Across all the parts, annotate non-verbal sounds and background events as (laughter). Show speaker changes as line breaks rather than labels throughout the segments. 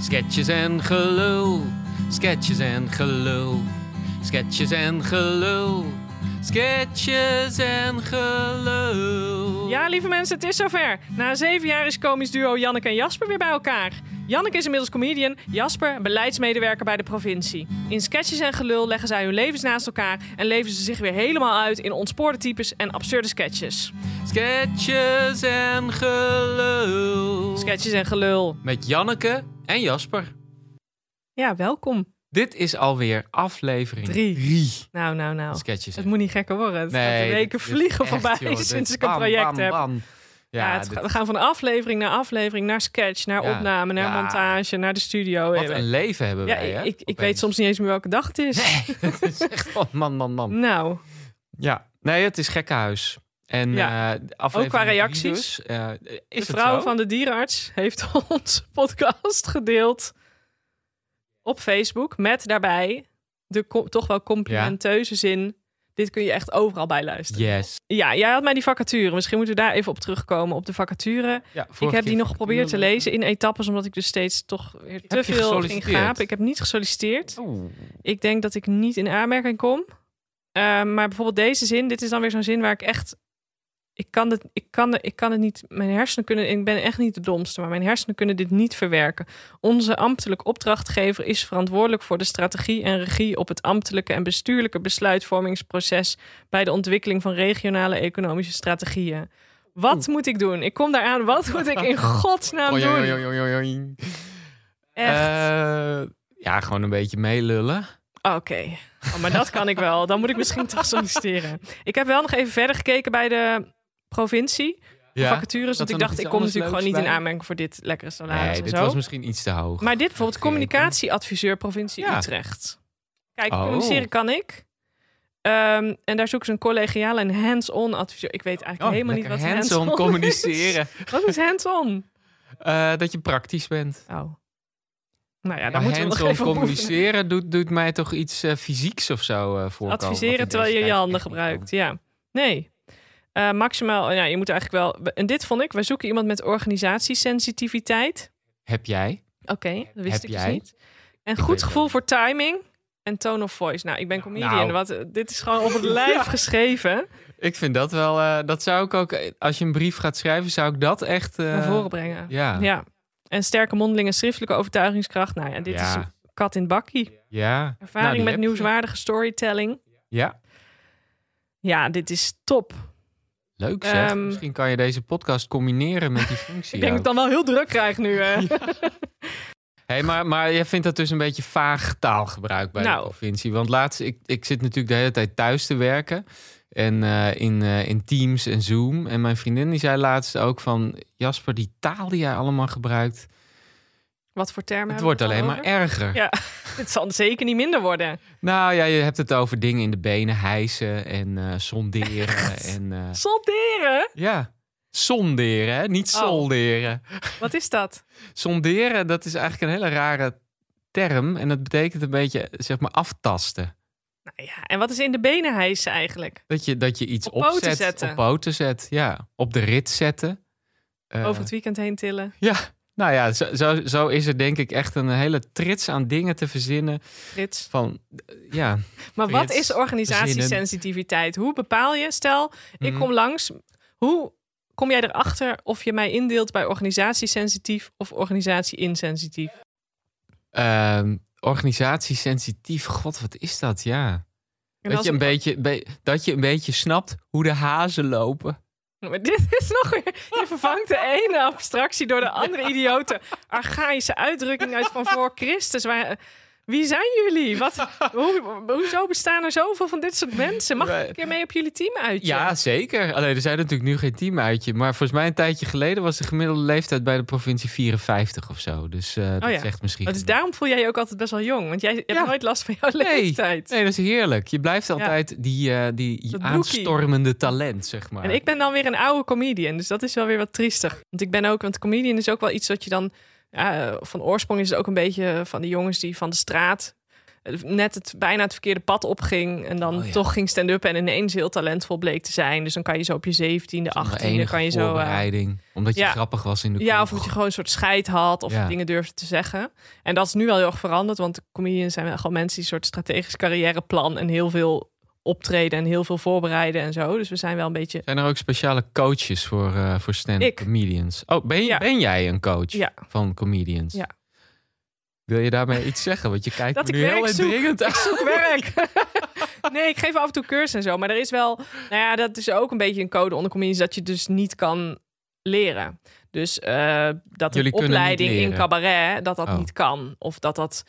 Sketches en gelul, sketches en gelul, sketches en gelul, sketches en gelul.
Ja, lieve mensen, het is zover. Na zeven jaar is komisch duo Janneke en Jasper weer bij elkaar. Janneke is inmiddels comedian, Jasper een beleidsmedewerker bij de provincie. In sketches en gelul leggen zij hun levens naast elkaar en leven ze zich weer helemaal uit in ontspoorde types en absurde sketches.
Sketches en gelul.
Sketches en gelul.
Met Janneke en Jasper.
Ja, welkom.
Dit is alweer aflevering
Drie. Nou, nou, nou.
Sketches.
Het
en-
moet niet gekker worden. Het gaat de weken
dit is
vliegen
echt,
voorbij
joh, dit-
(laughs) sinds ik een
bam,
project
bam,
heb.
bam.
Ja,
Ja,
het
dit-
ga- we gaan van aflevering naar aflevering, naar sketch, naar
Ja.
opname, naar
Ja.
montage, naar de studio.
wat een leven hebben
ja,
wij, hè?
ik, ik
opeens.
weet soms niet eens meer welke dag het is.
(laughs) Het is echt van man, man, man.
Nou,
Ja, nee, het is gekkenhuis. En
Ja,
eh, aflevering
ook qua
drie
reacties.
dus. Eh, is
de
het
vrouw
zo?
van de dierenarts heeft (laughs) onze podcast gedeeld op Facebook met daarbij de co- toch wel complimenteuze zin. Dit kun je echt overal bij luisteren.
Yes.
Ja, jij had mij die vacature. Misschien moeten we daar even op terugkomen, op de vacature.
Ja,
Ik
vorige
heb die
keer
nog geprobeerd te
leuk.
lezen in etappes, omdat ik dus steeds toch weer te
je
veel ging
gesolliciteerd?
gapen. Ik heb niet gesolliciteerd.
Oeh.
Ik denk dat ik niet in aanmerking kom. Eh, maar bijvoorbeeld deze zin, dit is dan weer zo'n zin waar ik echt... Ik kan, het, ik, kan, het- ik kan het niet, mijn hersenen kunnen, ik ben echt niet de domste, maar mijn hersenen kunnen dit niet verwerken. Onze ambtelijke opdrachtgever is verantwoordelijk voor de strategie en regie op het ambtelijke en bestuurlijke besluitvormingsproces bij de ontwikkeling van regionale economische strategieën. Wat moet ik doen? Ik kom daar aan, wat moet ik
(laughs)
in godsnaam
Oei, oei,
doen?
oei, oei, oei, oei.
Echt.
Eh, ja, gewoon een beetje meelullen.
Oké, Oh, maar dat kan ik wel. Dan moet ik misschien toch solliciteren. Ik heb wel nog even verder gekeken bij de provincie.
Ja. dat
vacatures. Want
er
ik
nog
dacht,
iets
ik kom
anders
natuurlijk gewoon
leuks
niet in
bij?
aanmerking voor dit lekkere salaris
Nee,
en
dit
zo.
was misschien iets te hoog.
Maar dit bijvoorbeeld
Gekeken.
communicatieadviseur provincie
Ja.
Utrecht. Kijk,
Oh.
communiceren kan ik. Ehm, en daar zoeken ze een collegiale en hands-on adviseur. Ik weet eigenlijk helemaal niet wat
Oh, lekker
een
hands-on
hands-on
communiceren.
is. (laughs) Wat is hands-on?
Eh, dat je praktisch bent.
Oh. Nou ja,
Ja,
daar moeten we nog
hands-on
even op oefenen.
communiceren doet, doet mij toch iets eh, fysieks of zo eh voorkomen. wat
Adviseren
ik
terwijl je je
destijds
handen
echt niet
gebruikt. Ja. Nee. Eh, maximaal, ja, je moet eigenlijk wel. En dit vond ik, wij zoeken iemand met organisatiesensitiviteit.
kon. Heb jij?
Oké, dat wist
Heb
ik
jij?
dus niet. En
weet
goed
het
gevoel voor timing en tone of voice. Nou, ik ben comedian.
Nou.
Wat, eh, dit is gewoon op
(laughs)
het lijf geschreven.
Ik vind dat wel. eh, dat zou ik ook. eh, Als je een brief gaat schrijven, zou ik dat echt. eh,
Naar voren brengen.
Ja.
Ja. En sterke mondeling en schriftelijke overtuigingskracht. Nou ja, dit is
ja.
een kat in het bakkie.
ja. Nou,
Ervaring
die
met
heb
nieuwswaardige storytelling.
je. Ja.
Ja, dit is top.
Leuk zeg.
Ehm,
Misschien kan je deze podcast combineren met
(laughs)
die functie.
Ik denk dat ik
ook.
dan wel heel druk krijg nu.
(laughs)
eh.
Hey, maar, maar jij vindt dat dus een beetje vaag taalgebruik bij
Nou.
de provincie. Want laatst, ik, ik zit natuurlijk de hele tijd thuis te werken. En eh, in, eh, in Teams en Zoom. En mijn vriendin die zei laatst ook van... Jasper, die taal die jij allemaal gebruikt...
Wat voor termen
het
hebben we
wordt alleen
dan
maar
over?
erger.
Ja. (laughs) Het zal zeker niet minder worden.
Nou ja, je hebt het over dingen in de benen. Hijsen en eh
(laughs)
sonderen. En, eh,
Solderen?
ja, sonderen, hè? niet
Oh.
solderen.
Wat is dat?
Sonderen, dat is eigenlijk een hele rare term. En dat betekent een beetje, zeg maar, aftasten.
Nou ja, en wat is in de benen hijsen eigenlijk?
Dat je, dat je iets
Op poten
opzet,
zetten.
op poten zet, ja. Op de rit zetten. Eh,
Over het weekend heen tillen.
Ja, nou ja, zo, zo, zo is er denk ik echt een hele trits aan dingen te verzinnen.
Frits.
Van, eh, ja,
Maar wat
Frits,
is organisatiesensitiviteit? Hoe bepaal je, stel, ik
Mhm.
kom langs. Hoe kom jij erachter of je mij indeelt bij organisatiesensitief of organisatie-insensitief?
ehm, organisatiesensitief, god, wat is dat, ja.
En
Dat
als
je, een
ik-
beetje, be- dat je een beetje snapt hoe de hazen lopen.
Maar dit is nog weer. Je vervangt de ene abstractie door de andere idiote. Archaïsche uitdrukking uit van voor Christus. Waar, wie zijn jullie? Wat, hoe, hoezo bestaan er zoveel van dit soort mensen? Mag ik een keer mee op jullie team uit?
Ja, zeker. Alleen er zijn natuurlijk nu geen team uitje. Maar volgens mij een tijdje geleden was de gemiddelde leeftijd bij de provincie 54 of zo. Dus eh, dat
ja.
zegt misschien.
Dus
genoeg.
daarom voel jij je ook altijd best wel jong. Want jij hebt
Ja.
nooit last van jouw
Nee.
leeftijd.
Nee, dat is heerlijk. Je blijft altijd die, eh, die
Dat
aanstormende talent, zeg maar.
En ik ben dan weer een oude comedian. Dus dat is wel weer wat triestig. Want ik ben ook, want comedian is ook wel iets wat je dan. ja, eh, van oorsprong is het ook een beetje van die jongens die van de straat. net het, bijna het verkeerde pad opging. En dan
Oh ja.
toch ging stand-up en ineens heel talentvol bleek te zijn. Dus dan kan je zo op je zeventiende,
Zonder
achttiende
enige
kan je zo... eh,
voorbereiding. omdat je
ja.
grappig was in de
ja, of
kroeg.
dat je gewoon een soort scheid had of
Ja.
dingen durfde te zeggen. En dat is nu wel heel erg veranderd, want de comedians zijn wel gewoon mensen die een soort strategisch carrièreplan en heel veel optreden en heel veel voorbereiden en zo. Dus we zijn wel een beetje.
Zijn er ook speciale coaches voor, eh, voor stand-up
Ik.
comedians? Oh, ben, je-
Ja.
ben jij een coach
Ja.
van comedians?
Ja.
Wil je daarmee iets zeggen?
(laughs)
Want je kijkt
Dat
me
ik
nu heel
werk zoek.
dringend aan.
Zoek werk. (laughs) nee, ik geef af en toe cursus en zo, maar er is wel. Nou ja, dat is ook een beetje een code onder comedians dat je dus niet kan leren. Dus eh, dat
Jullie kunnen niet
een opleiding in
leren.
cabaret dat dat
Oh.
niet kan of dat dat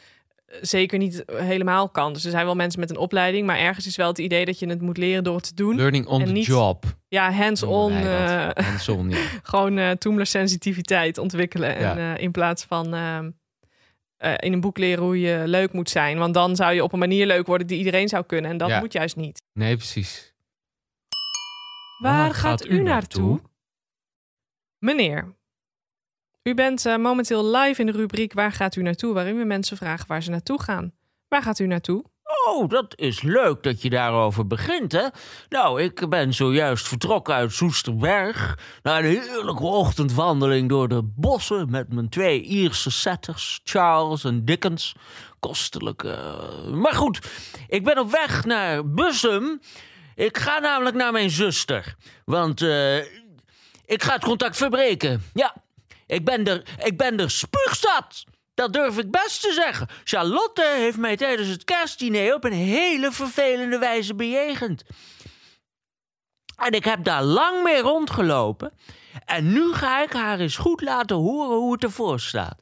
eh, zeker niet helemaal kan. Dus er zijn wel mensen met een opleiding, maar ergens is wel het idee dat je het moet leren door het te doen.
Learning on
En
the
niet-
job.
(laughs) Ja, hands-on.
noemen wij dat.
eh,
Hands-on, ja.
gewoon eh sensitiviteit ontwikkelen. En eh, in plaats van ehm, eh, in een boek leren hoe je leuk moet zijn. Want dan zou je op een manier leuk worden die iedereen zou kunnen. En dat
Ja.
moet juist niet.
Nee, precies.
Waar, gaat u naartoe? Meneer, u bent eh, momenteel live in de rubriek Waar gaat u naartoe? Waarin we mensen vragen waar ze naartoe gaan. Waar gaat u naartoe?
Oh, dat is leuk dat je daarover begint, hè? Nou, ik ben zojuist vertrokken uit Soesterberg... naar een heerlijke ochtendwandeling door de bossen... met mijn twee Ierse setters, Charles en Dickens. Kostelijk, eh, Maar goed, ik ben op weg naar Bussum. Ik ga namelijk naar mijn zuster. Want eh, ik ga het contact verbreken. Ja, ik ben er, ik ben er spuugzat. Dat durf ik best te zeggen. Charlotte heeft mij tijdens het kerstdiner op een hele vervelende wijze bejegend. En ik heb daar lang mee rondgelopen. En nu ga ik haar eens goed laten horen hoe het ervoor staat.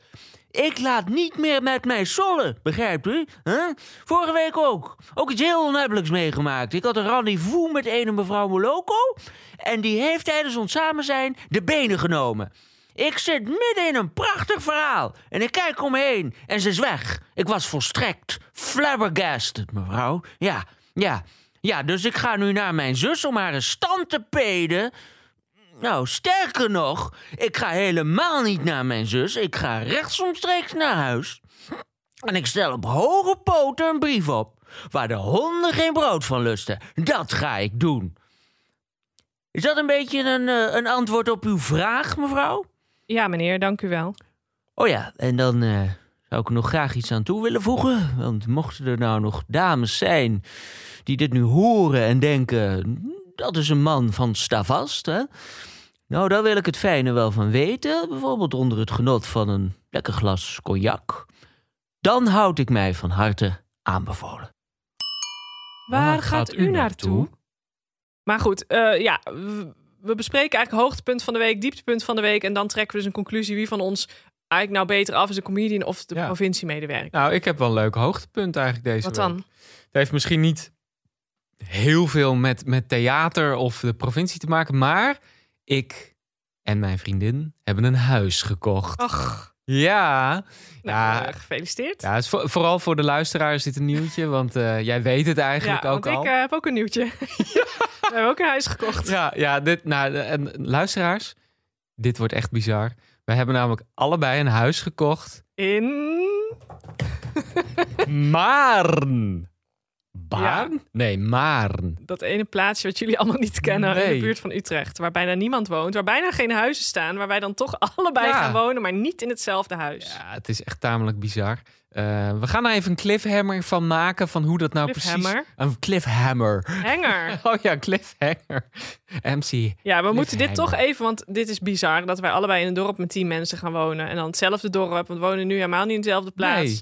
Ik laat niet meer met mij sollen, begrijpt u? Huh? Vorige week ook. Ook iets heel onhebbelijks meegemaakt. Ik had een rendezvous met een mevrouw Moloko. En die heeft tijdens ons samen zijn de benen genomen. Ik zit midden in een prachtig verhaal. En ik kijk omheen en ze is weg. Ik was volstrekt flabbergasted, mevrouw. Ja, ja, ja. Dus ik ga nu naar mijn zus om haar een stand te peden. Nou, sterker nog, ik ga helemaal niet naar mijn zus. Ik ga rechtsomstreeks naar huis. En ik stel op hoge poten een brief op. Waar de honden geen brood van lusten. Dat ga ik doen. Is dat een beetje een, eh, een antwoord op uw vraag, mevrouw?
Ja, meneer, dank u wel.
Oh ja, en dan eh, zou ik er nog graag iets aan toe willen voegen. Want mochten er nou nog dames zijn die dit nu horen en denken... dat is een man van Stavast, hè? Nou, daar wil ik het fijne wel van weten. Bijvoorbeeld onder het genot van een lekker glas cognac. Dan houd ik mij van harte aanbevolen.
Waar, gaat u naartoe? Maar goed, eh, ja, w- we bespreken eigenlijk hoogtepunt van de week, dieptepunt van de week. En dan trekken we dus een conclusie wie van ons eigenlijk nou beter af is, de comedian of de
Ja.
provinciemedewerker.
Nou, ik heb wel een leuk hoogtepunt eigenlijk deze
Wat
week.
dan?
Het heeft misschien niet heel veel met, met theater of de provincie te maken. Maar ik en mijn vriendin hebben een huis
Oh.
gekocht.
Ach,
Ja.
nou,
Ja.
eh, gefeliciteerd.
Ja, het is voor- vooral voor de luisteraar is dit een nieuwtje, want eh, jij weet het eigenlijk
Ja,
ook
want
al.
ik eh, heb ook een nieuwtje.
(laughs)
(laughs) We hebben ook een huis gekocht.
Ja, ja dit, nou, de- en luisteraars, dit wordt echt bizar. Wij hebben namelijk allebei een huis gekocht,
In...
Maarn. Baarn? Nee, Maarn.
dat ene plaatsje wat jullie allemaal niet kennen in
Nee.
de buurt van Utrecht. Waar bijna niemand woont, waar bijna geen huizen staan. Waar wij dan toch (laughs) allebei
Ja.
gaan wonen, maar niet in hetzelfde huis.
Ja, het is echt tamelijk bizar. Eh, we gaan daar even een cliffhanger van maken, van hoe dat nou precies...
Cliffhanger?
Een cliffhammer.
Hanger.
(laughs) Oh ja, cliffhanger. MC.
Ja, we moeten dit
Cliffhanger.
toch even, want dit is bizar dat wij allebei in een dorp met tien mensen gaan wonen. En dan hetzelfde dorp, want we wonen nu helemaal niet in dezelfde plaats.
Nee.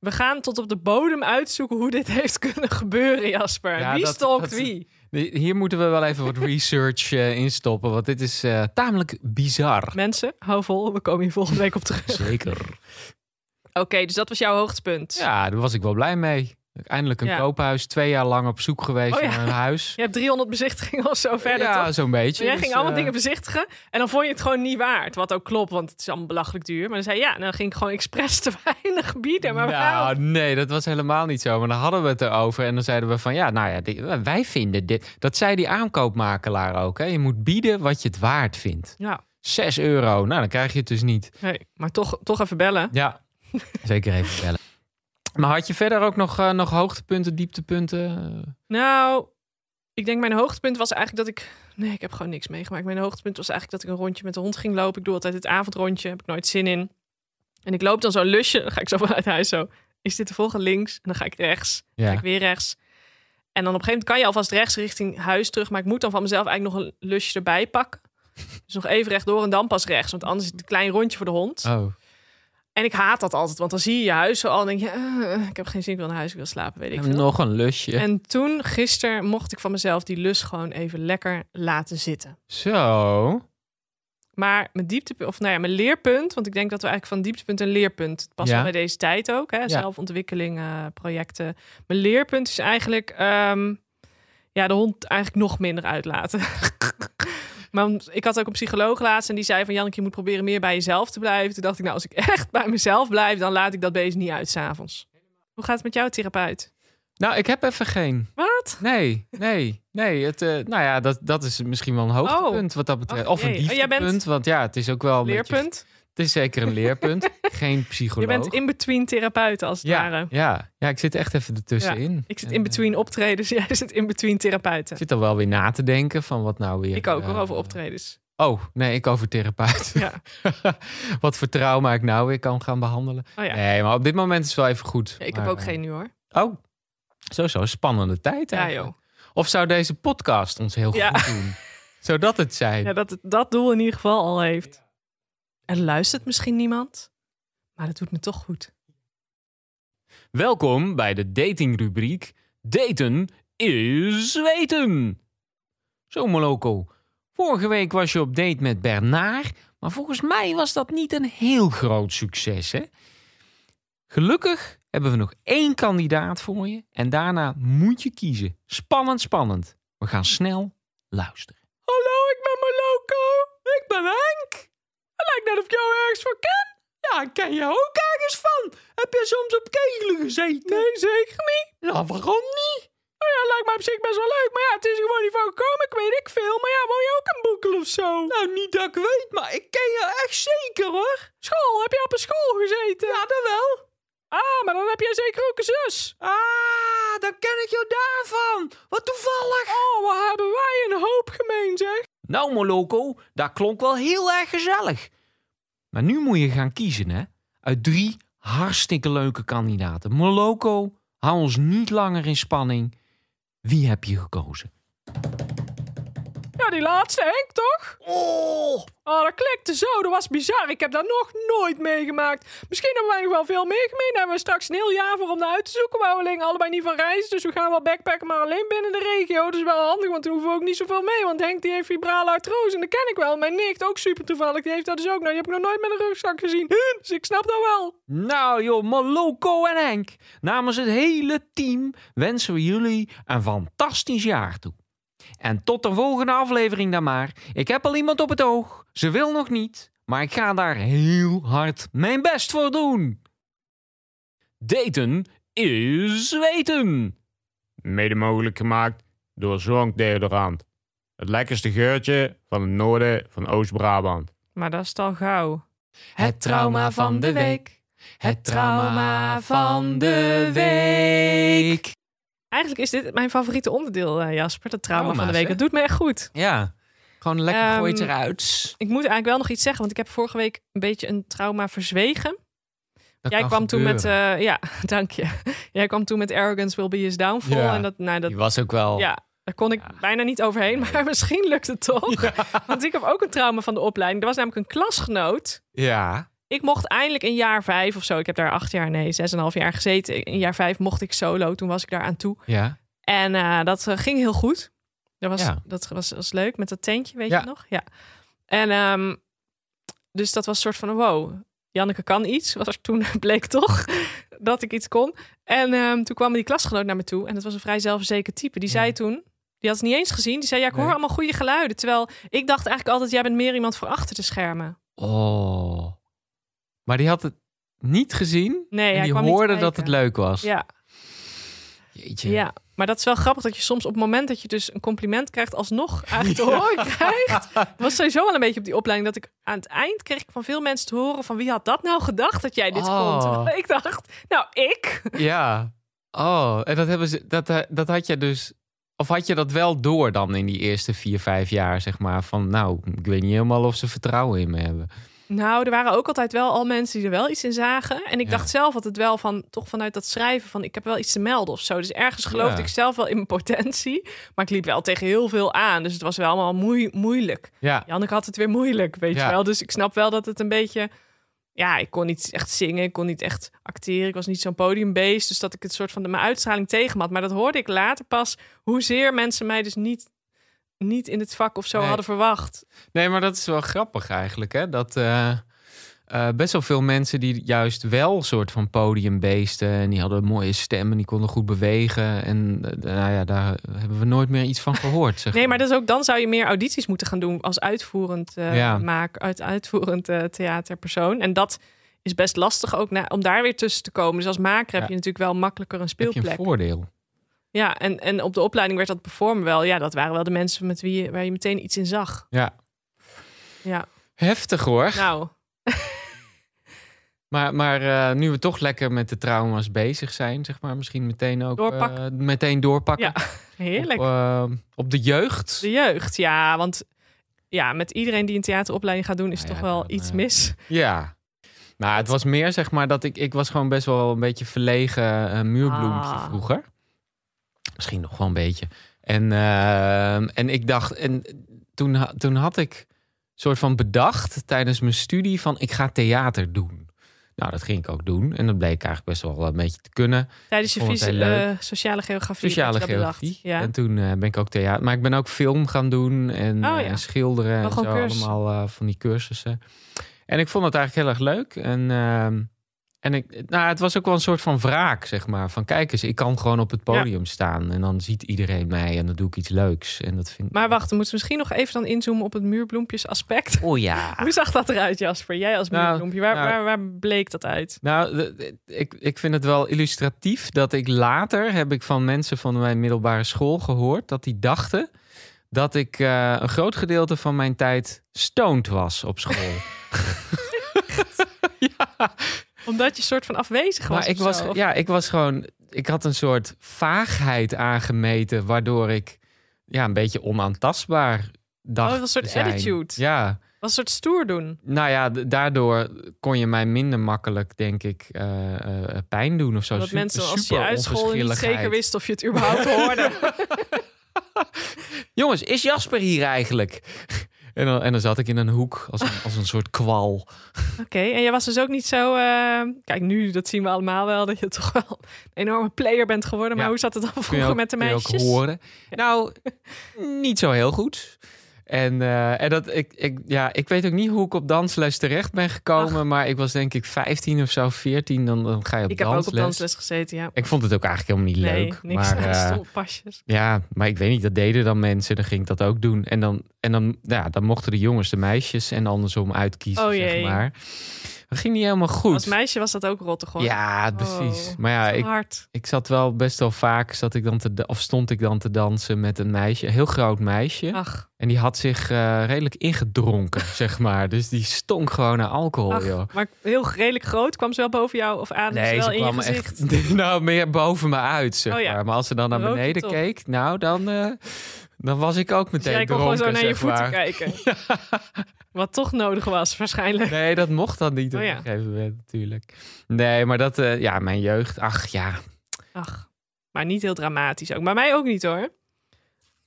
We gaan tot op de bodem uitzoeken hoe dit (laughs) heeft kunnen gebeuren, Jasper.
Ja,
wie
dat-
stalkt
dat-
wie?
Hier moeten we wel even wat research eh, in stoppen, want dit is eh, tamelijk bizar.
Mensen, hou vol, we komen hier volgende week op
(laughs)
terug.
Zeker.
Oké, dus dat was jouw hoogtepunt.
Ja, daar was ik wel blij mee. Eindelijk een
Ja.
koophuis, twee jaar lang op zoek geweest
Oh ja.
naar een huis.
(laughs) Je hebt 300 bezichtigingen of zo verder,
ja,
toch?
zo'n beetje.
Maar jij
Dus,
ging allemaal
eh,
dingen bezichtigen en dan vond je het gewoon niet waard. Wat ook klopt, want het is allemaal belachelijk duur. Maar dan zei je, ja, dan ging ik gewoon expres te (laughs) weinig bieden. Maar waarom?
Nou, nee, dat was helemaal niet zo. Maar dan hadden we het erover en dan zeiden we van ja, nou ja, dit- wij vinden dit. Dat zei die aankoopmakelaar ook. Hè. Je moet bieden wat je het waard vindt.
Ja,
6 euro, nou dan krijg je het dus niet.
nee, maar toch, toch even bellen.
Ja, zeker even bellen. Maar had je verder ook nog, eh, nog hoogtepunten, dieptepunten?
Nou, ik denk mijn hoogtepunt was eigenlijk dat ik... Nee, ik heb gewoon niks meegemaakt. Mijn hoogtepunt was eigenlijk dat ik een rondje met de hond ging lopen. Ik doe altijd het avondrondje, heb ik nooit zin in. En ik loop dan zo'n lusje, dan ga ik zo vanuit huis zo... Is dit de volgende links? En dan ga ik rechts,
Ja.
ga ik weer rechts. En dan op een gegeven moment kan je alvast rechts richting huis terug. Maar ik moet dan van mezelf eigenlijk nog een lusje erbij pakken. Dus nog even rechtdoor en dan pas rechts. Want anders is het een klein rondje voor de hond.
Oh,
En ik haat dat altijd. Want dan zie je je huis zo al en denk je... "Eh, ik heb geen zin, ik wil naar huis, ik wil slapen, weet ik veel.
nog een lusje.
En toen, gisteren, mocht ik van mezelf die lus gewoon even lekker laten zitten.
Zo.
Maar mijn dieptepunt, of nou ja, mijn leerpunt, want ik denk dat we eigenlijk van dieptepunt een leerpunt, het past
Ja.
wel bij deze tijd ook, hè? zelfontwikkeling, eh, projecten. Mijn leerpunt is eigenlijk, ehm, ja, de hond eigenlijk nog minder uitlaten. (laughs) Maar om- ik had ook een psycholoog laatst en die zei van Janneke, je moet proberen meer bij jezelf te blijven. Toen dacht ik, nou, als ik (laughs) echt bij mezelf blijf, dan laat ik dat beest niet uit s'avonds. Hoe gaat het met jouw therapeut?
Nou, ik heb even geen.
Wat?
Nee, nee, nee. Het, eh, nou ja, dat, dat is misschien wel een hoogtepunt wat dat betreft.
Oh,
of een
jee. Oh, jij
dieptepunt,
bent-
want ja, het is ook wel een beetje-
Leerpunt?
het is zeker een
(laughs)
leerpunt. Geen
Je
psycholoog.
bent in-between therapeuten als het
ja,
ware.
ja, ja, ik zit echt even ertussenin.
Ik zit
En, eh,
in-between optredens, (laughs) jij zit in-between therapeuten.
Ik zit al wel weer na te denken van wat nou weer...
Ik ook hoor,
eh,
over optredens.
Oh, nee, ik over therapeut.
Ja.
(laughs) wat voor trauma ik nou weer kan gaan behandelen.
Oh ja.
(laughs) Nee, maar op dit moment is het wel even goed.
Ja, ik
Maar,
heb ook
eh,
geen nu hoor.
Oh, sowieso. Spannende tijd
Ja,
eigenlijk.
joh.
Of zou deze podcast ons heel
Ja.
goed doen? Zou dat het zijn?
Ja, dat het dat doel in ieder geval al heeft. Er luistert misschien niemand, maar dat doet me toch goed.
Welkom bij de datingrubriek Daten is weten. Zo Moloko, vorige week was je op date met Bernard, maar volgens mij was dat niet een heel groot succes, hè? Gelukkig hebben we nog één kandidaat voor je en daarna moet je kiezen. Spannend, spannend. We gaan snel luisteren. Hallo, ik ben Moloko. Ik ben Henk. Het lijkt net of ik jou ergens voor ken. Ja, ik ken je ook ergens van. Heb je soms op kegelen gezeten? Nee, zeker niet. Nou, waarom niet? Oh ja, lijkt mij op zich best wel leuk. Maar ja, het is gewoon niet van gekomen. Ik weet ik veel. Maar ja, woon je ook een boekel of zo? Nou, niet dat ik weet, maar ik ken je echt zeker hoor. School? Heb je op een school gezeten? Ja, dat wel. Ah, maar dan heb jij zeker ook een zus. Ah, dan ken ik jou daarvan. Wat toevallig. Oh, wat hebben wij een hoop gemeen, zeg. Nou, Moloko, dat klonk wel heel erg gezellig. Maar nu moet je gaan kiezen, hè? Uit drie hartstikke leuke kandidaten. Moloko, hou ons niet langer in spanning. Wie heb je gekozen?
Ja, die laatste Henk toch?
Oh,
Oh, dat klikte zo. Dat was bizar. Ik heb dat nog nooit meegemaakt. Misschien hebben wij nog wel veel meegemeen. Daar hebben we straks een heel jaar voor om naar uit te zoeken. Maar we alleen allebei niet van reizen. Dus we gaan wel backpacken, maar alleen binnen de regio. Dat is wel handig, want dan hoeven we ook niet zoveel mee. Want Henk die heeft fibrale artrose en dat ken ik wel. Mijn nicht, ook super toevallig, die heeft dat dus ook. Nou, die heb ik nog nooit met een rugzak gezien. (laughs) Dus ik snap dat wel.
nou joh, Moloko en Henk. Namens het hele team wensen we jullie een fantastisch jaar toe. En tot de volgende aflevering dan maar. Ik heb al iemand op het oog. Ze wil nog niet, maar ik ga daar heel hard mijn best voor doen. Daten is weten.
mede mogelijk gemaakt door Zwankdeodorant. Het lekkerste geurtje van het noorden van Oost-Brabant.
Maar dat is al gauw.
Het trauma van de week. Het trauma van de week.
Eigenlijk is dit mijn favoriete onderdeel, eh, Jasper. Dat trauma van de
Trauma's,
week.
hè?
Dat doet me echt goed.
Ja, gewoon lekker
Ehm,
gooit eruit.
Ik moet eigenlijk wel nog iets zeggen, want ik heb vorige week een beetje een trauma verzwegen.
Dat
Jij
kan
kwam toen met,
gebeuren.
eh, ja, (laughs) dank je. Jij kwam toen met Arrogance Will Be His Downfall.
Ja.
En dat, nou, dat,
Die was ook wel...
ja, daar kon ik
Ja.
bijna niet overheen, maar (laughs) misschien lukt het toch. (laughs) Want ik heb ook een trauma van de opleiding. Er was namelijk een klasgenoot.
Ja.
Ik mocht eindelijk in jaar vijf of zo, ik heb daar acht jaar, nee, zes en een half jaar gezeten. In jaar vijf mocht ik solo, toen was ik daar aan toe.
Ja.
En eh, dat eh, ging heel goed. Dat was,
Ja.
dat was, was leuk met dat tentje, weet
Ja.
je nog? Ja. En ehm, dus dat was een soort van wow. Janneke kan iets, was er toen (laughs) bleek toch dat ik iets kon. En ehm, toen kwam die klasgenoot naar me toe en dat was een vrij zelfverzekerd type. Die zei
Ja.
toen, die had het niet eens gezien, die zei ja, ik hoor
Nee.
allemaal goede geluiden. Terwijl ik dacht eigenlijk altijd, jij bent meer iemand voor achter de schermen.
Oh. Maar die had het niet gezien.
Nee,
en
hij
die
kwam niet
hoorde dat
kijken.
het leuk was.
Ja.
Jeetje.
Ja, maar dat is wel grappig dat je soms op het moment dat je dus een compliment krijgt,
(laughs)
alsnog eigenlijk te horen krijgt. Het was sowieso wel een beetje op die opleiding dat ik aan het eind kreeg ik van veel mensen te horen van wie had dat nou gedacht dat jij dit
Oh.
kon. Terwijl (laughs) Ik dacht, nou ik.
Ja. Oh, en dat, hebben ze, dat, eh, dat had je dus. Of had je dat wel door dan in die eerste vier, vijf jaar, zeg maar? Van nou, ik weet niet helemaal of ze vertrouwen in me hebben.
Nou, er waren ook altijd wel al mensen die er wel iets in zagen. En ik
Ja.
dacht zelf altijd wel van, toch vanuit dat schrijven van ik heb wel iets te melden of zo. Dus ergens geloofde
Ja.
ik zelf wel in mijn potentie. Maar ik liep wel tegen heel veel aan. Dus het was wel allemaal moei- moeilijk.
Ja.
Janneke had het weer moeilijk, weet
Ja.
je wel. Dus ik snap wel dat het een beetje... Ja, ik kon niet echt zingen, ik kon niet echt acteren. Ik was niet zo'n podiumbeest, dus dat ik het soort van de, mijn uitstraling tegen had. Maar dat hoorde ik later pas, hoezeer mensen mij dus niet, niet in het vak of zo
Nee.
hadden verwacht.
Nee, maar dat is wel grappig eigenlijk, hè? Dat eh, eh, best wel veel mensen die juist wel soort van podiumbeesten... en die hadden een mooie stem en die konden goed bewegen. En eh, nou ja, daar hebben we nooit meer iets van gehoord, zeg
Nee, maar dat is ook, dan zou je meer audities moeten gaan doen als uitvoerend eh
Ja.
maak, uit, uitvoerend eh, theaterpersoon. En dat is best lastig ook na, om daar weer tussen te komen. Dus als maker
Ja.
heb je natuurlijk wel makkelijker een
Heb je een
speelplek.
voordeel.
Ja, en, en op de opleiding werd dat performen wel. Ja, dat waren wel de mensen met wie je, waar je meteen iets in zag.
Ja.
Ja,
Heftig hoor.
nou,
Maar, maar eh, nu we toch lekker met de trauma's bezig zijn, zeg maar, misschien meteen ook
Doorpakken.
eh, meteen doorpakken.
heerlijk.
Op, eh, op de jeugd.
De jeugd, ja, want ja, met iedereen die een theateropleiding gaat doen is
Nou
toch
ja,
wel
dan,
iets
eh, (laughs)
mis.
Ja. Nou, het was meer zeg maar dat ik, ik was gewoon best wel een beetje verlegen eh, muurbloempje
Ah.
vroeger. Misschien nog wel een beetje. En, eh, en ik dacht, en toen, ha- toen had ik soort van bedacht tijdens mijn studie van ik ga theater doen. Nou, dat ging ik ook doen. En dat bleek eigenlijk best wel een beetje te kunnen.
Tijdens je
vond het
visie,
heel leuk.
eh, sociale geografie.
Sociale
heb je dat bedacht.
geografie.
Ja.
En toen eh, ben ik ook theater. Maar ik ben ook film gaan doen en,
Oh,
eh,
ja.
schilderen
Wel
en zo.
gewoon cursus.
Allemaal eh, van die cursussen. En ik vond het eigenlijk heel erg leuk. En, ehm, en ik, nou, het was ook wel een soort van wraak, zeg maar. Van kijk eens, ik kan gewoon op het
Ja.
podium staan. En dan ziet iedereen mij en dan doe ik iets leuks. En dat vind
Maar wacht, we moeten misschien nog even dan inzoomen op het muurbloempjes aspect.
Oh ja.
Hoe zag dat eruit, Jasper? Jij als
Ah. Nou,
muurbloempje, waar,
nou-
waar, waar bleek dat uit?
Nou, de- de- ik, ik vind het wel illustratief dat ik later heb ik van mensen van mijn middelbare school gehoord dat die dachten dat ik eh, een groot gedeelte van mijn tijd stoned was op
(laughs)
school.
Omdat je soort van afwezig was.
maar ik
of
was,
zo, of- oh,
ja, ik was gewoon, ik had een soort vaagheid aangemeten waardoor ik ja, een beetje onaantastbaar dacht.
Oh, dat was een soort
te zijn.
attitude.
Ja.
was een soort stoer doen.
Nou ja, d- daardoor kon je mij minder makkelijk, denk ik, eh, eh, pijn doen of zo.
Dat
Super-
mensen als je
super
uitschool niet zeker (laughs)
onverschilligheid.
wisten of je het überhaupt hoorde.
Jongens, is Jasper hier eigenlijk? (laughs) En dan, en dan zat ik in een hoek als een, als een soort kwal.
(laughs) Oké, en jij was dus ook niet zo. eh, Kijk, nu, dat zien we allemaal wel, dat je toch wel een enorme player bent geworden. Maar
Ja.
hoe zat het dan
Kun je
vroeger
ook,
met de
kun je ook
meisjes?
horen. Nou, niet zo heel goed. En, eh, en dat, ik, ik, ja, ik weet ook niet hoe ik op dansles terecht ben gekomen. Maar ik was denk ik 15 of zo, 14. Dan, dan ga je op
ik heb
dansles.
ook op dansles gezeten, ja.
Ik vond het ook eigenlijk helemaal niet
nee,
leuk.
niks
maar,
aan
eh,
stoelpasjes.
Ja, maar ik weet niet, dat deden dan mensen. Dan ging ik dat ook doen. En dan, en dan, ja, dan mochten de jongens de meisjes en andersom uitkiezen,
Oh
zeg
jee.
maar. Dat ging niet helemaal goed.
Als meisje was dat ook rotte gewoon.
Ja, precies.
Oh,
maar ja, ik,
Hard.
ik zat wel best wel vaak, zat ik dan te, da- of stond ik dan te dansen met een meisje, een heel groot meisje.
Ach,
En die had zich eh, redelijk ingedronken, (laughs) zeg maar. Dus die stonk gewoon naar alcohol,
ach,
Oh, joh.
maar heel redelijk groot. Kwam ze wel boven jou of ademde ze wel in je gezicht?
echt (laughs) nou, meer boven me uit, zeg
Oh ja.
maar. Maar als ze dan naar
Rood
beneden
het op.
keek, nou, dan, eh, dan was ik ook
Dus
meteen
jij kon gewoon
dronken,
zo naar je
zeg
voeten
maar.
kijken. Wat toch nodig was,
(laughs)
waarschijnlijk.
Nee, dat mocht dan niet op
Oh ja.
een gegeven moment, natuurlijk. Nee, maar dat, eh, ja, mijn jeugd, ach ja.
Ach, maar niet heel dramatisch ook. Maar mij ook niet hoor.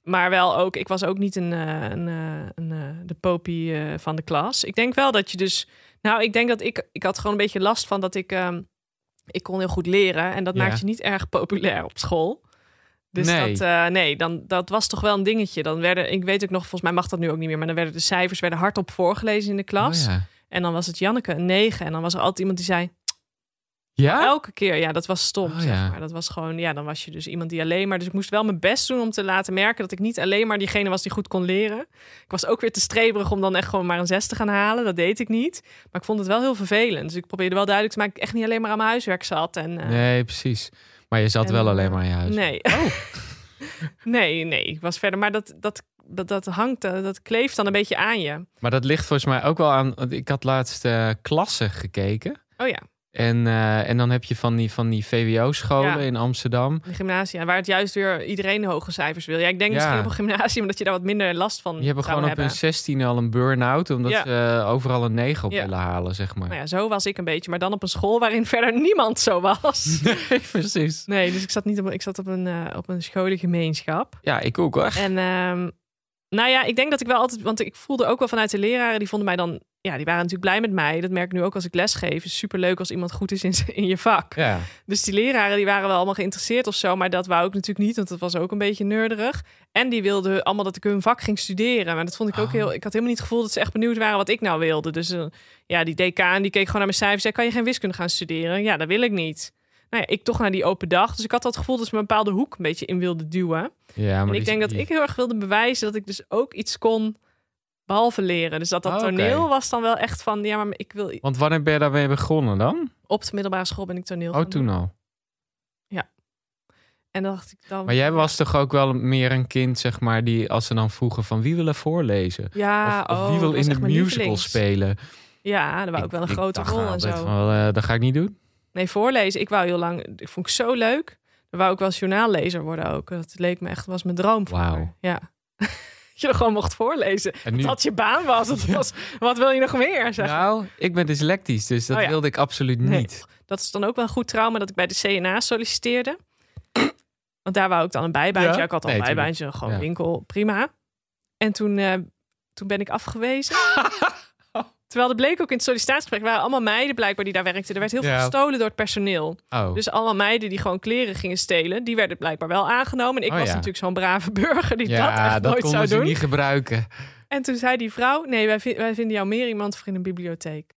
Maar wel ook, ik was ook niet een, eh, een, eh, een, eh, de popie eh, van de klas. Ik denk wel dat je dus... Nou, ik denk dat ik... Ik had gewoon een beetje last van dat ik... ehm, ik kon heel goed leren en dat
Ja.
maakt je niet erg populair op school. Dus
Nee.
dat, eh, nee, dan, dat was toch wel een dingetje. Dan werden, ik weet ook nog, volgens mij mag dat nu ook niet meer, maar dan werden de cijfers werden hardop voorgelezen in de klas.
Oh ja.
En dan was het Janneke een 9. En dan was er altijd iemand die zei,
Ja?
Elke keer, ja, dat was stom.
Ah? Oh,
zeg
ja.
maar. Dat was gewoon, ja, dan was je dus iemand die alleen maar. Dus ik moest wel mijn best doen om te laten merken dat ik niet alleen maar diegene was die goed kon leren. Ik was ook weer te streberig om dan echt gewoon maar een zes te gaan halen. Dat deed ik niet. Maar ik vond het wel heel vervelend. Dus ik probeerde wel duidelijk te maken dat ik echt niet alleen maar aan mijn huiswerk zat. En, eh,
Nee, precies. Maar Maar je zat
En,
wel alleen
eh,
maar in je huis.
Nee. (laughs) nee, nee, ik was verder. Maar dat, dat, dat, dat hangt, eh, dat kleeft dan een beetje aan je.
Maar dat ligt volgens mij ook wel aan. Want ik had laatst eh klassen gekeken.
Oh ja,
En, eh, en dan heb je van die, van die VWO-scholen
Ja.
in Amsterdam.
de gymnasia, waar het juist weer iedereen hoge cijfers wil. Ja, ik denk
Ja.
misschien op een gymnasium (laughs) dat je daar wat minder last van
Die hebben
zou
gewoon op
hebben.
hun 16 al een burn-out. Omdat
Ja.
ze eh, overal een 9 op
Ja.
willen halen, zeg maar.
Nou ja, zo was ik een beetje. Maar dan op een school waarin (laughs) verder niemand zo
(laughs)
was.
(laughs) Nee, precies.
Nee, dus ik zat, niet op, ik zat op, een, eh, op een scholengemeenschap.
Ja, ik ook hoor.
En ehm, nou ja, ik denk dat ik wel altijd... Want ik voelde ook wel vanuit de leraren, die vonden mij dan... Ja, die waren natuurlijk blij met mij. Dat merk ik nu ook als ik lesgeef. Het is superleuk als iemand goed is in, z- in je vak.
Ja.
Dus die leraren die waren wel allemaal geïnteresseerd of zo. Maar dat wou ik natuurlijk niet, want dat was ook een beetje neurderig. En die wilden allemaal dat ik hun vak ging studeren. Maar dat vond ik ook
Oh.
heel... Ik had helemaal niet het gevoel dat ze echt benieuwd waren wat ik nou wilde. Dus eh, ja, die decaan die keek gewoon naar mijn cijfers. Zei, kan je geen wiskunde gaan studeren? Ja, dat wil ik niet. Nou ja, ik toch naar die open dag. Dus ik had dat gevoel dat ze me een bepaalde hoek een beetje in wilden duwen.
ja maar
en ik
die-
denk dat
die-
ik heel erg wilde bewijzen dat ik dus ook iets kon... Behalve leren. Dus dat, dat
Oh, oké.
toneel was dan wel echt van... Ja, maar ik wil...
Want wanneer ben je daarmee begonnen dan?
Op de middelbare school ben ik toneel
Oh,
gaan doen.
toen al.
En dan dacht ik dan...
Maar jij was toch ook wel meer een kind, zeg maar, die als ze dan vroegen van wie wil er voorlezen?
Ja,
of, of
oh,
wie wil
dat was
in de
echt mijn
musical
lievelings.
spelen?
Ja, daar wou ik, wel een grote
dacht
rol en
altijd
zo.
Van, eh, dat ga ik niet doen.
Nee, voorlezen. Ik wou heel lang. Ik vond ik zo leuk. Dan wou ik wel journaallezer worden ook. Dat leek me echt was mijn droom. vroeger.
Wauw.
Ja. dat je er gewoon mocht voorlezen.
En nu,
Dat je baan was. Dat was. Wat wil je nog meer? Zeg.
nou, ik ben dyslectisch, dus dat
Oh ja.
wilde ik absoluut
Nee.
niet.
Dat is dan ook wel een goed trauma dat ik bij de CNA solliciteerde. Want daar wou ik dan een bijbaantje.
Ja.
Ik had al
Nee,
een bijbaantje, gewoon
Ja.
winkel, prima. En toen, eh, toen ben ik
(laughs)
afgewezen. Terwijl er bleek ook in het sollicitatiegesprek waren allemaal meiden blijkbaar die daar werkten. Er werd heel
Ja.
veel gestolen door het personeel.
Oh,
Dus allemaal meiden die gewoon kleren gingen stelen, die werden blijkbaar wel aangenomen. En ik
Oh,
was
ja.
natuurlijk zo'n brave (laughs) burger die dat
ja,
echt
dat,
nooit
konden
zou
ze
doen.
niet gebruiken.
En toen zei die vrouw, nee, wij, vin- wij vinden jou meer iemand voor in een bibliotheek.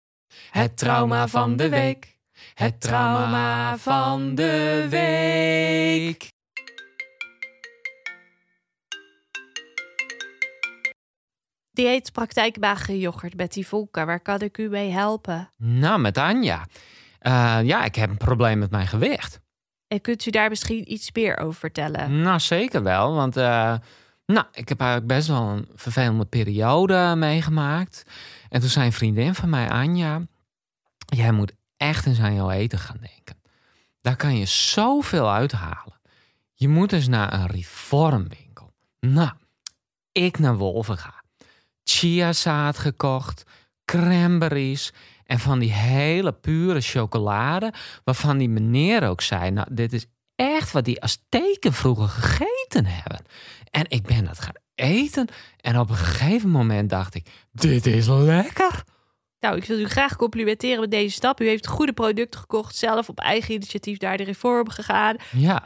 Het trauma van de week. Het trauma van de week.
Dieetpraktijkwagen yoghurt, Betty Volker, waar kan ik u mee helpen?
Nou, met Anja. Eh, ja, ik heb een probleem met mijn gewicht.
En kunt u daar misschien iets meer over vertellen?
Nou, zeker wel. Want eh, nou, ik heb eigenlijk best wel een vervelende periode meegemaakt. En toen zei een vriendin van mij, Anja... jij moet echt eens aan jouw eten gaan denken. Daar kan je zoveel uithalen. Je moet eens naar een reformwinkel. Nou, ik naar Wolven ga. Chiazaad gekocht, cranberries... En van die hele pure chocolade, waarvan die meneer ook zei: Nou, dit is echt wat die Azteken vroeger gegeten hebben. En ik ben dat gaan eten. En op een gegeven moment dacht ik: Dit is lekker.
Nou, ik wil u graag complimenteren met deze stap. U heeft goede producten gekocht, zelf op eigen initiatief daar de reform gegaan.
Ja,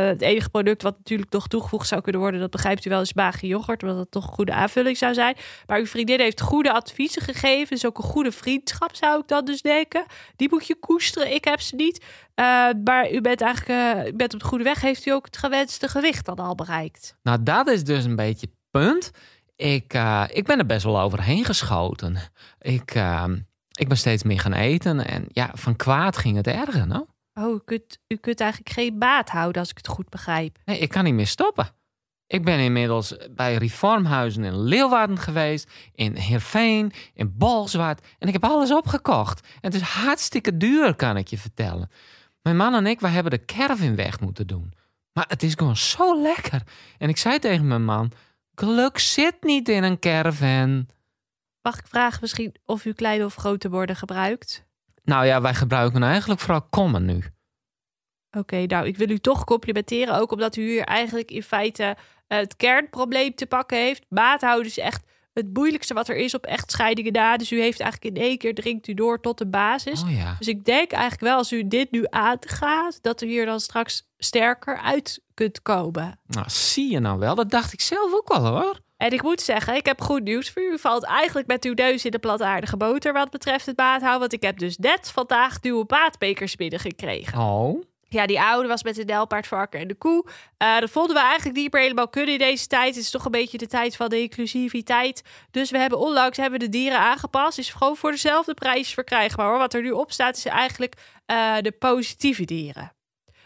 Eh, het enige product wat natuurlijk nog toegevoegd zou kunnen worden, dat begrijpt u wel, is Bagi yoghurt, omdat dat toch een goede aanvulling zou zijn. Maar uw vriendin heeft goede adviezen gegeven, is ook een goede vriendschap, zou ik dan dus denken. Die moet je koesteren, ik heb ze niet. Eh, maar u bent eigenlijk eh, u bent op de goede weg, heeft u ook het gewenste gewicht dan al bereikt?
nou, dat is dus een beetje het punt. Ik, eh, ik ben er best wel overheen geschoten. Ik, eh, ik ben steeds meer gaan eten. En ja, van kwaad ging het erger. Nou.
Oh, u kunt, u kunt eigenlijk geen baat houden, als ik het goed begrijp.
Nee, ik kan niet meer stoppen. Ik ben inmiddels bij reformhuizen in Leeuwarden geweest, in Heerveen, in Bolzwart. En ik heb alles opgekocht. En het is hartstikke duur, kan ik je vertellen. Mijn man en ik, wij hebben de kervin weg moeten doen. Maar het is gewoon zo lekker. En ik zei tegen mijn man, geluk zit niet in een caravan.
Mag ik vragen misschien of u kleine of grote woorden gebruikt?
Nou ja, wij gebruiken eigenlijk vooral kommen nu.
Oké, nou, ik wil u toch complimenteren. Ook omdat u hier eigenlijk in feite eh, het kernprobleem te pakken heeft. Baathouden is echt het moeilijkste wat er is op echt scheidingen na. Dus u heeft eigenlijk in één keer dringt u door tot de basis.
Oh ja.
Dus ik denk eigenlijk wel, als u dit nu aangaat, dat u hier dan straks sterker uit kunt komen.
Nou, zie je nou wel. Dat dacht ik zelf ook wel hoor.
En ik moet zeggen, ik heb goed nieuws voor u. U valt eigenlijk met uw neus in de plataardige boter wat betreft het baathouden. Want ik heb dus net vandaag nieuwe baatbekers binnengekregen.
Oh.
Ja, die oude was met de delpaard, varken en de koe. Eh dat vonden we eigenlijk niet meer helemaal kunnen in deze tijd. Het is toch een beetje de tijd van de inclusiviteit. Dus we hebben onlangs hebben we de dieren aangepast. Is gewoon voor dezelfde prijs verkrijgbaar hoor. Wat er nu op staat is eigenlijk eh, de positieve dieren.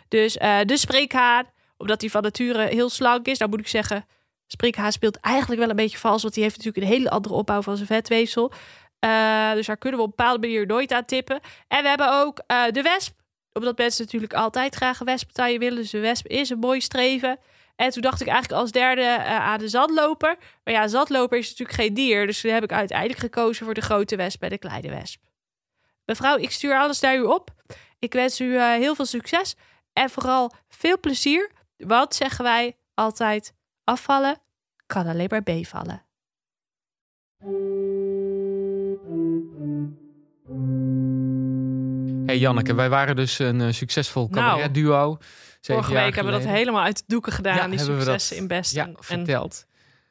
Dus eh, de spreekhaan, omdat hij van nature heel slank is, nou moet ik zeggen, spreekhaan speelt eigenlijk wel een beetje vals, want die heeft natuurlijk een hele andere opbouw van zijn vetweefsel. Eh, dus daar kunnen we op een bepaalde manier nooit aan tippen. En we hebben ook eh, de wesp, omdat mensen natuurlijk altijd graag een wesppartij willen. Dus de wesp is een mooi streven. En toen dacht ik eigenlijk als derde eh, aan de zandloper. Maar ja, zandloper is natuurlijk geen dier. Dus toen heb ik uiteindelijk gekozen voor de grote wesp en de kleine wesp. Mevrouw, ik stuur alles naar u op. Ik wens u eh, heel veel succes en vooral veel plezier. Want zeggen wij altijd: afvallen kan alleen maar bevallen.
hey Janneke, wij waren dus een eh, succesvol
Nou,
cabaretduo. zeven
Vorige
jaar
week hebben we dat
geleden.
helemaal uit de doeken gedaan,
Ja,
die
hebben we dat-
successen in Best.
ja, verteld.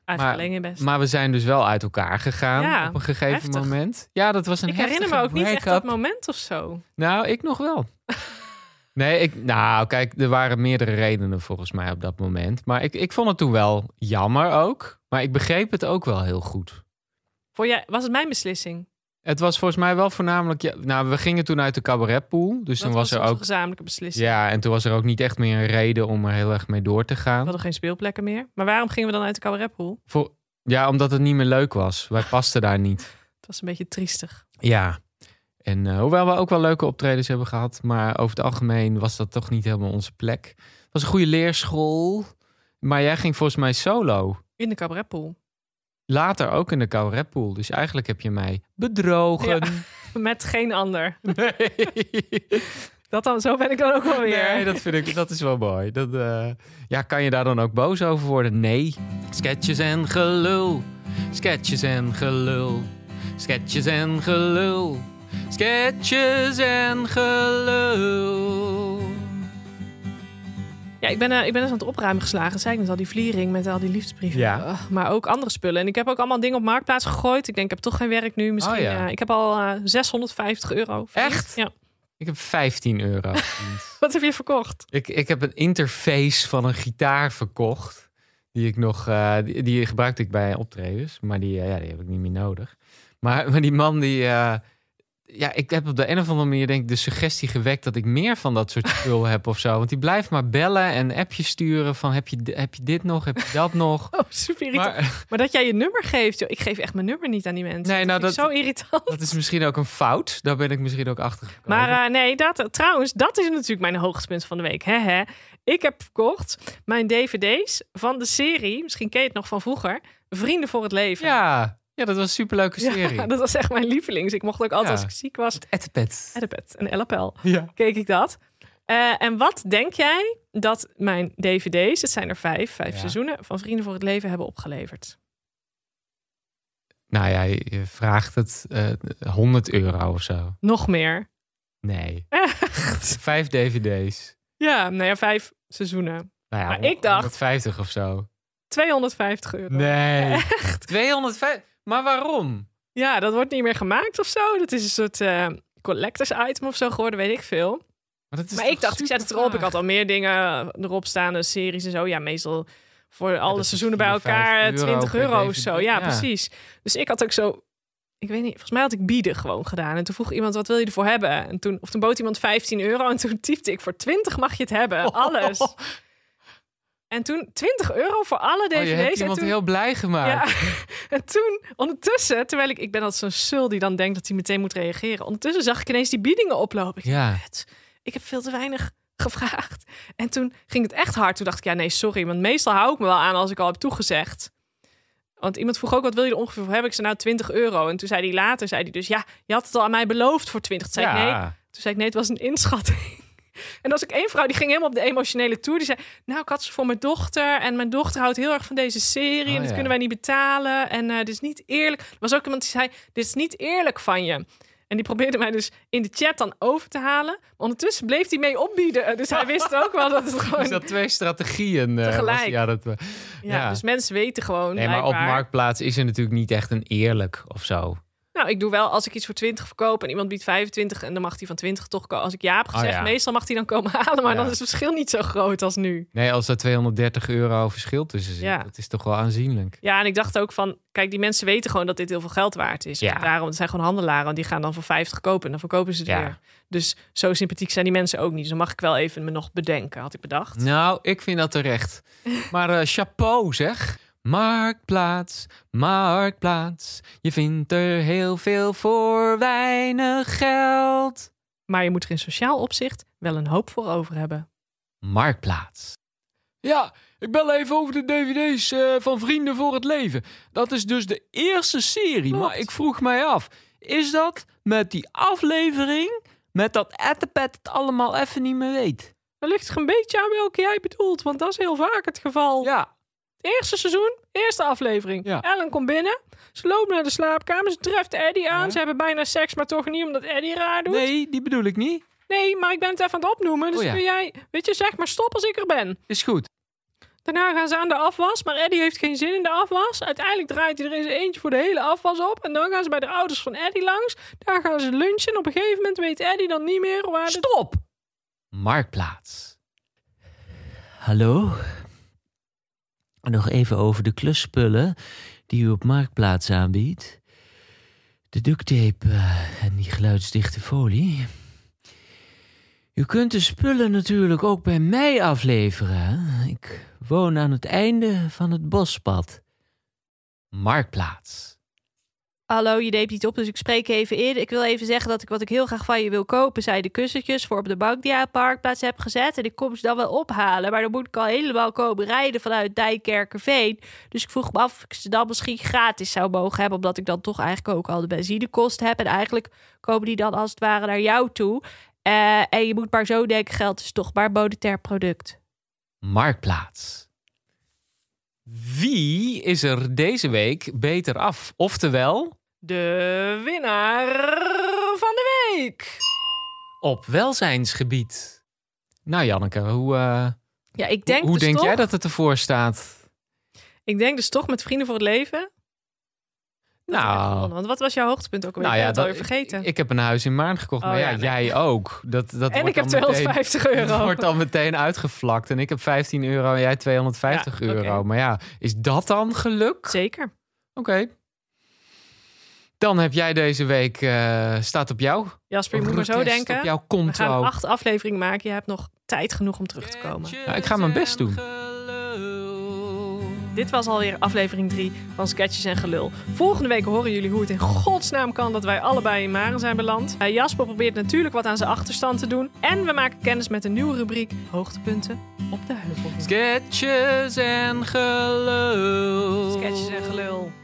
En
Maar-
uitgeling in Best.
Maar we zijn dus wel uit elkaar gegaan
Ja,
op een gegeven
heftig.
moment. Ja, dat was een
ik herinner me
heftige
ook niet echt
break-up.
dat moment of zo.
Nou, ik nog
(laughs)
wel. nee, ik, nou kijk, er waren meerdere redenen volgens mij op dat moment. Maar ik, ik vond het toen wel jammer ook. Maar ik begreep het ook wel heel goed.
Voor jij, was het mijn beslissing?
Het was volgens mij wel voornamelijk... Ja, nou, we gingen toen uit de cabaretpool. Dus
dat
toen was,
was
er
onze
ook...
gezamenlijke beslissing.
Ja, en toen was er ook niet echt meer een reden om er heel erg mee door te
We
gaan.
hadden geen speelplekken meer. Maar waarom gingen we dan uit de cabaretpool?
Voor, ja, omdat het niet meer leuk was. Wij pasten daar niet.
Het was een beetje triestig.
Ja. En eh, hoewel we ook wel leuke optredens hebben gehad, maar over het algemeen was dat toch niet helemaal onze plek. Het was een goede leerschool, maar jij ging volgens mij solo.
In de cabaretpool.
Later ook in de cabaretpool. Dus eigenlijk heb je mij bedrogen.
Met geen ander.
(laughs) Nee.
Dat dan, zo ben ik dan ook wel weer.
Nee, dat vind ik, dat is wel mooi. Dat, eh, ja, kan je daar dan ook boos over worden? Nee. Sketches en gelul. Sketches en gelul. Sketches en gelul. Sketches en gelul.
Ja, ik ben, eh, ik ben eens aan het opruimen geslagen. Dat zei ik net al, die vliering met al die liefdesbrieven.
Ja.
Ugh, maar ook andere spullen. En ik heb ook allemaal dingen op Marktplaats gegooid. Ik denk, ik heb toch geen werk nu. Misschien,
Oh ja.
eh, ik heb al eh, 650 euro. verdiend.
Echt?
Ja.
Ik heb 15 euro. verdiend.
Wat heb je verkocht?
ik, ik heb een interface van een gitaar verkocht. Die ik nog, eh, die, die gebruikte ik bij optredens, maar die, eh, ja, die heb ik niet meer nodig. Maar, maar die man die, eh, ja, ik heb op de een of andere manier denk ik de suggestie gewekt dat ik meer van dat soort spul heb of zo. Want die blijft maar bellen en appjes sturen van heb je, d- heb je dit nog, heb je dat
(laughs)
nog.
Oh, super irritant. Maar,
Maar eh,
dat jij je nummer geeft. joh. Ik geef echt mijn nummer niet aan die mensen.
Nee, nou,
dat vind ik zo irritant.
dat is misschien ook een fout. Daar ben ik misschien ook achter gekomen.
Maar eh, nee, dat, trouwens, dat is natuurlijk mijn hoogtepunt van de week. Hè, hè. Ik heb verkocht mijn dvd's van de serie, misschien ken je het nog van vroeger, Vrienden voor het Leven. (laughs)
ja, ja, dat was een superleuke serie.
Ja, (laughs) dat was echt mijn lievelings. Ik mocht ook altijd
Ja.
als ik ziek was,
Ettepet.
Edipet en Ellapel,
Ja.
keek ik dat. Eh, en wat denk jij dat mijn dvd's, het zijn er vijf, vijf
Ja.
seizoenen, van Vrienden voor het Leven hebben opgeleverd?
Nou ja, je je vraagt het eh 100 euro of zo.
Nog meer.
Nee.
Echt?
Vijf dvd's.
Ja, nou ja, vijf seizoenen.
Nou ja,
Maar ik dacht-
150 of zo.
250 euro.
Nee. Echt? 250. Maar waarom?
Ja, dat wordt niet meer gemaakt of zo. Dat is een soort eh, collectors item of zo geworden, weet ik veel.
Maar, dat is
maar
toch
ik dacht, ik zet het erop. Ik
supervraag?
had al meer dingen erop staan, eh, series en zo. Ja, meestal voor alle
dat is
seizoenen bij
vier,
elkaar
vijf
eh, 20
euro per
euro of
DVD.
zo. Ja,
Ja.
precies. Dus ik had ook zo... Ik weet niet, volgens mij had ik bieden gewoon gedaan. En toen vroeg iemand, wat wil je ervoor hebben? En toen, of toen bood iemand 15 euro en toen (laughs) typte ik, voor 20 mag je het
(laughs)
hebben, alles. En toen 20 euro voor alle
Oh,
dvd's.
je hebt
en
iemand
toen,
heel blij
ja.
gemaakt.
(laughs) En toen, ondertussen, terwijl ik, ik ben altijd zo'n sul die dan denkt dat hij meteen moet reageren. Ondertussen zag ik ineens die biedingen oplopen. Ik
Ja.
dacht, "Kut, ik heb veel te weinig gevraagd. En toen ging het echt hard. Toen dacht ik, ja nee, sorry. Want meestal hou ik me wel aan als ik al heb toegezegd. Want iemand vroeg ook, wat wil je er ongeveer voor hebben? Ik zei, nou 20 euro. En toen zei hij later, zei hij dus, ja, je had het al aan mij beloofd voor 20. Toen zei ik, nee, toen zei ik, nee, het was een inschatting. (laughs) En als ik één vrouw, die ging helemaal op de emotionele tour. Die zei, nou, ik had ze voor mijn dochter. En mijn dochter houdt heel erg van deze serie.
Oh,
en dat
ja.
kunnen wij niet betalen. En eh dit is niet eerlijk. Er was ook iemand die zei, dit is niet eerlijk van je. En die probeerde mij dus in de chat dan over te halen. Maar ondertussen bleef hij mee opbieden. Dus hij wist ook wel dat het gewoon...
(laughs) Is dat Dus twee strategieën? eh, was-
Tegelijk.
ja, dat, we-
ja,
ja.
Dus mensen weten gewoon
nee, maar op
blijkbaar.
Marktplaats is er natuurlijk niet echt een eerlijk of zo.
Nou, Nou, ik doe wel als ik iets voor 20 verkoop en iemand biedt 25 en dan mag die van 20 toch komen. Als ik ja heb gezegd,
Oh ja.
meestal mag die dan komen halen, maar
Ja.
dan is het verschil niet zo groot als nu.
Nee, als daar 230 euro verschil tussen zit,
Ja.
dat is toch wel aanzienlijk.
Ja, en ik dacht ook van, kijk, die mensen weten gewoon dat dit heel veel geld waard is.
Ja.
Daarom het zijn gewoon handelaren, want die gaan dan voor 50 kopen en dan verkopen ze het
Ja.
weer. Dus zo sympathiek zijn die mensen ook niet. Dus dan mag ik wel even me nog bedenken, had ik bedacht.
Nou, ik vind dat terecht. Maar eh, chapeau zeg. Marktplaats, marktplaats. Je vindt er heel veel voor weinig geld.
Maar je moet er in sociaal opzicht wel een hoop voor over hebben.
Marktplaats. Ja, ik bel even over de dvd's eh, van Vrienden voor het Leven. Dat is dus de eerste serie, maar
Klopt.
ik vroeg mij af... is dat met die aflevering, met dat ettepet het allemaal even niet meer weet?
Dan ligt er een beetje aan welke jij bedoelt, want dat is heel vaak het geval.
Ja,
Het eerste seizoen, eerste aflevering.
Ja.
Ellen komt binnen, ze loopt naar de slaapkamer, ze treft Eddie aan.
Ja.
Ze hebben bijna seks, maar toch niet omdat Eddie raar doet. Nee,
nee, die bedoel ik niet.
maar ik ben het even aan het opnoemen, dus
Oh ja.
kun jij... Weet je, zeg maar stop als ik er ben.
Is goed.
Daarna gaan ze aan de afwas, maar Eddie heeft geen zin in de afwas. Uiteindelijk draait hij er eens eentje voor de hele afwas op. En dan gaan ze bij de ouders van Eddie langs. Daar gaan ze lunchen en op een gegeven moment weet Eddie dan niet meer waar... de-
Stop! Marktplaats.
Hallo? Nog even over de klusspullen die u op Marktplaats aanbiedt. De duct tape eh, en die geluidsdichte folie. U kunt de spullen natuurlijk ook bij mij afleveren. hè? Ik woon aan het einde van het bospad.
Marktplaats.
Hallo, je neemt niet op, dus ik spreek even in. Ik wil even zeggen dat ik wat ik heel graag van je wil kopen... zijn de kussentjes voor op de bank die je aan de parkplaats hebt gezet. En ik kom ze dan wel ophalen. Maar dan moet ik al helemaal komen rijden vanuit Dijkerkerveen. Dus ik vroeg me af of ik ze dan misschien gratis zou mogen hebben... omdat ik dan toch eigenlijk ook al de benzinekosten heb. En eigenlijk komen die dan als het ware naar jou toe. Eh, en je moet maar zo denken, geld is toch maar een monetair product.
Marktplaats. Wie is er deze week beter af? Oftewel,
De winnaar van de week!
op welzijnsgebied. Nou, Janneke, hoe, eh,
Ja, ik
hoe-
denk
hoe
dus
denk
toch,
jij dat het ervoor staat?
Ik denk dus toch met Vrienden voor het Leven. dat ik heb gewonnen.
nou,
Want wat was jouw hoogtepunt ook alweer? ik ben het alweer
dat-
vergeten.
Ik, ik heb een huis in Maarn gekocht,
Oh,
maar ja,
ja, nee.
jij ook. Dat, dat
en
wordt
ik heb
dan (laughs)
250
meteen,
euro.
Dat wordt dan meteen uitgevlakt. En ik heb 15 euro en jij 250
Ja, oké.
euro. Maar ja, is dat dan geluk?
Zeker.
Oké. Dan heb jij deze week, eh, staat op jou.
Jasper, je moet maar zo
Protest
denken.
Op jouw
We gaan
konto.
acht afleveringen maken. Je hebt nog tijd genoeg om terug te komen.
Ja, ik ga mijn best doen.
Dit was alweer aflevering 3 van Sketches en Gelul. Volgende week horen jullie hoe het in godsnaam kan dat wij allebei in Maren zijn beland. Eh, Jasper probeert natuurlijk wat aan zijn achterstand te doen. En we maken kennis met een nieuwe rubriek Hoogtepunten op de Heuvel.
Sketches en gelul.
Sketches en Gelul.